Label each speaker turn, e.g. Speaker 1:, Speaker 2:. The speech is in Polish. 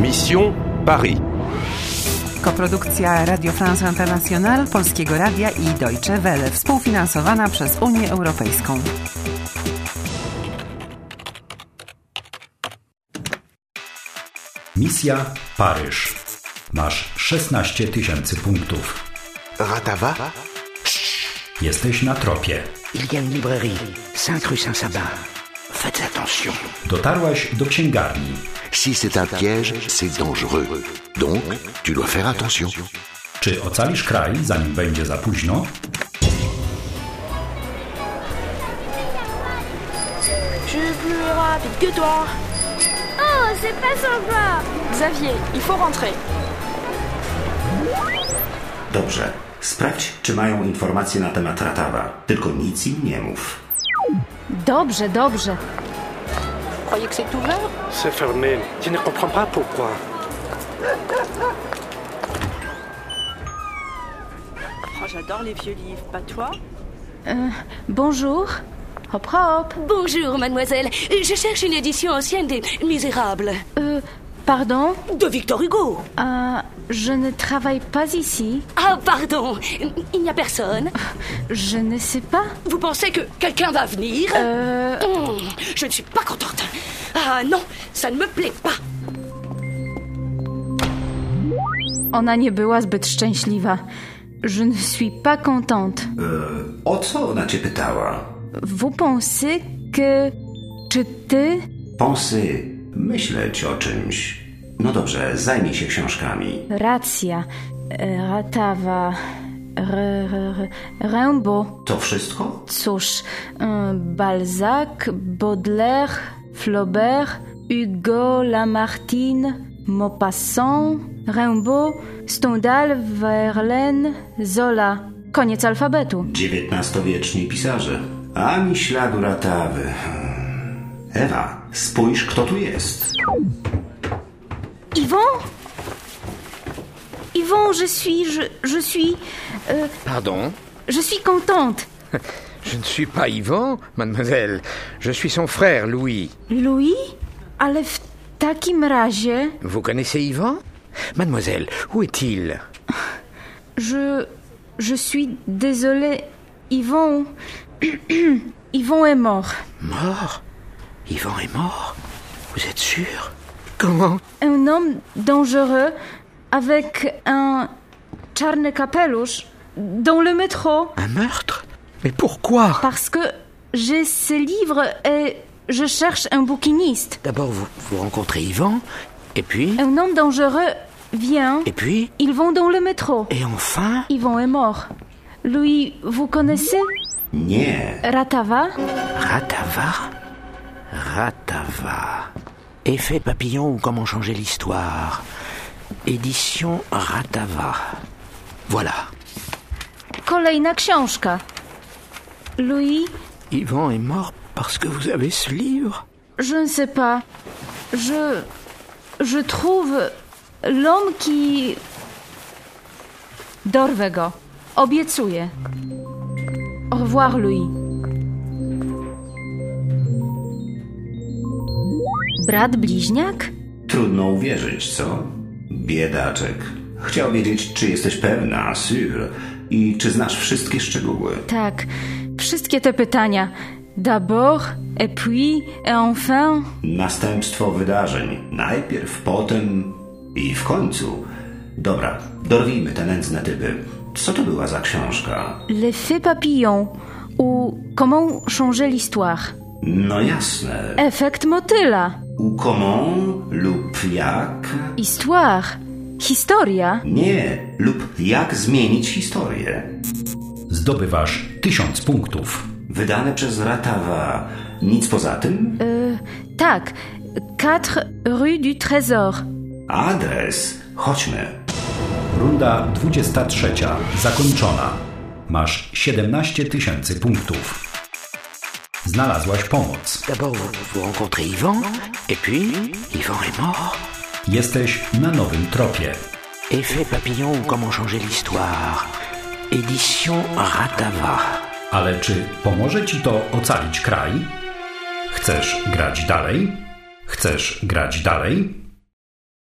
Speaker 1: Mission Paris.
Speaker 2: Koprodukcja Radio France International, Polskiego Radia i Deutsche Welle, współfinansowana przez Unię Europejską.
Speaker 3: Misja Paryż. Masz 16 tysięcy punktów.
Speaker 4: Ratava
Speaker 3: Jesteś na tropie.
Speaker 5: Il y a une librairie, 5 rue Saint-Sabin. Faites attention.
Speaker 3: Dotarłaś do księgarni.
Speaker 4: Si c'est un piège, c'est dangereux. Donc, tu dois faire attention.
Speaker 3: Czy ocalisz kraj, zanim będzie za późno?
Speaker 6: Je veux avec que toi.
Speaker 7: Oh, c'est pas sympa
Speaker 6: Xavier, il faut rentrer.
Speaker 8: Dobrze. Sprawdź, czy mają informacje na temat Ratawa. Tylko nic im nie mów.
Speaker 9: Dobrze, dobrze.
Speaker 6: Vous croyez que c'est ouvert
Speaker 10: C'est fermé. Tu ne comprends pas pourquoi.
Speaker 6: Oh, J'adore les vieux livres, pas toi
Speaker 9: Bonjour. Hop, hop.
Speaker 7: Bonjour, mademoiselle. Je cherche une édition ancienne des Misérables.
Speaker 9: Euh, pardon.
Speaker 7: De Victor Hugo
Speaker 9: Euh, je ne travaille pas ici.
Speaker 7: Ah, pardon. Il n'y a personne.
Speaker 9: Je ne sais pas.
Speaker 7: Vous pensez que quelqu'un va venir
Speaker 9: Euh,
Speaker 7: Hum, Je ne suis pas contente. Ah non, ça ne me plaît pas.
Speaker 9: ona nie była zbyt szczęśliwa. Je ne suis pas contente.
Speaker 8: E, o co ona cię pytała?
Speaker 9: Vous pensez que... Czy ty...
Speaker 8: Pąsy, myśleć o czymś. No dobrze, zajmij się książkami.
Speaker 9: Racja. E, Ratawa. R, r, r, Rimbaud.
Speaker 8: To wszystko?
Speaker 9: Cóż. e, Balzac, Baudelaire, Flaubert, Hugo, Lamartine, Maupassant, Rimbaud, Stendhal, Verlaine, Zola. Koniec alfabetu.
Speaker 8: XIX-wieczni pisarze. Ani śladu ratawy. Hmm. Ewa, spójrz, kto tu jest.
Speaker 9: Yvon Yvon, je suis... Je, je suis... euh,
Speaker 11: Pardon
Speaker 9: je suis contente.
Speaker 11: Je ne suis pas Yvan, mademoiselle. Je suis son frère, Louis.
Speaker 9: Louis Ale w takim razie...
Speaker 11: Vous connaissez Yvan Mademoiselle, où est-il
Speaker 9: Je. Je suis désolée. Yvon. Yvon est mort.
Speaker 11: Mort Yvan est mort Vous êtes sûr Comment
Speaker 9: Un homme dangereux avec un czarny kapelusz dans le métro
Speaker 11: Un meurtre Mais pourquoi
Speaker 9: parce que j'ai ce livre et je cherche un bouquiniste.
Speaker 11: D'abord, vous, vous rencontrez Yvan, et puis...
Speaker 9: Un homme dangereux vient.
Speaker 11: Et puis
Speaker 9: Ils vont dans le métro.
Speaker 11: Et enfin
Speaker 9: Yvon est mort. Louis, vous connaissez
Speaker 8: Nie,
Speaker 9: Ratava
Speaker 11: Ratava Ratava. Effet papillon ou comment changer l'histoire. Édition Ratava. Voilà.
Speaker 9: Kolejna książka. Louis,
Speaker 11: Yvan est mort parce que vous avez ce livre
Speaker 9: Je ne sais pas. Je. Je trouve l'homme qui. Dorwę go. Obiecuję. Au revoir, Louis. Brat bliźniak?
Speaker 8: trudno uwierzyć, co? Biedaczek. Chciał wiedzieć, czy jesteś pewna, sûr, i czy znasz wszystkie szczegóły.
Speaker 9: Tak. Wszystkie te pytania. D'abord, et puis, et enfin.
Speaker 8: Następstwo wydarzeń. Najpierw, potem i w końcu. Dobra, dorwijmy te nędzne typy. Co to była za książka?
Speaker 9: L'effet papillon. Ou comment changer l'histoire.
Speaker 8: No jasne.
Speaker 9: Efekt motyla.
Speaker 8: U comment lub jak?
Speaker 9: Histoire. Historia.
Speaker 8: Nie, lub jak zmienić historię.
Speaker 3: Zdobywasz 1000 punktów.
Speaker 8: Wydane przez Ratawa. Nic poza tym?
Speaker 9: Euh, Tak, 4 rue du Trésor.
Speaker 8: Adres. Chodźmy.
Speaker 3: Runda 23. Zakończona. Masz 17 tysięcy punktów. Znalazłaś pomoc.
Speaker 11: D'abord, vous, vous rencontrez Yvan, et puis Yvan est mort.
Speaker 3: Jesteś na nowym tropie.
Speaker 11: Effet papillon ou comment changer l'histoire. Édition Ratava.
Speaker 3: Ale czy pomoże ci to ocalić kraj? Chcesz grać dalej? Chcesz grać dalej?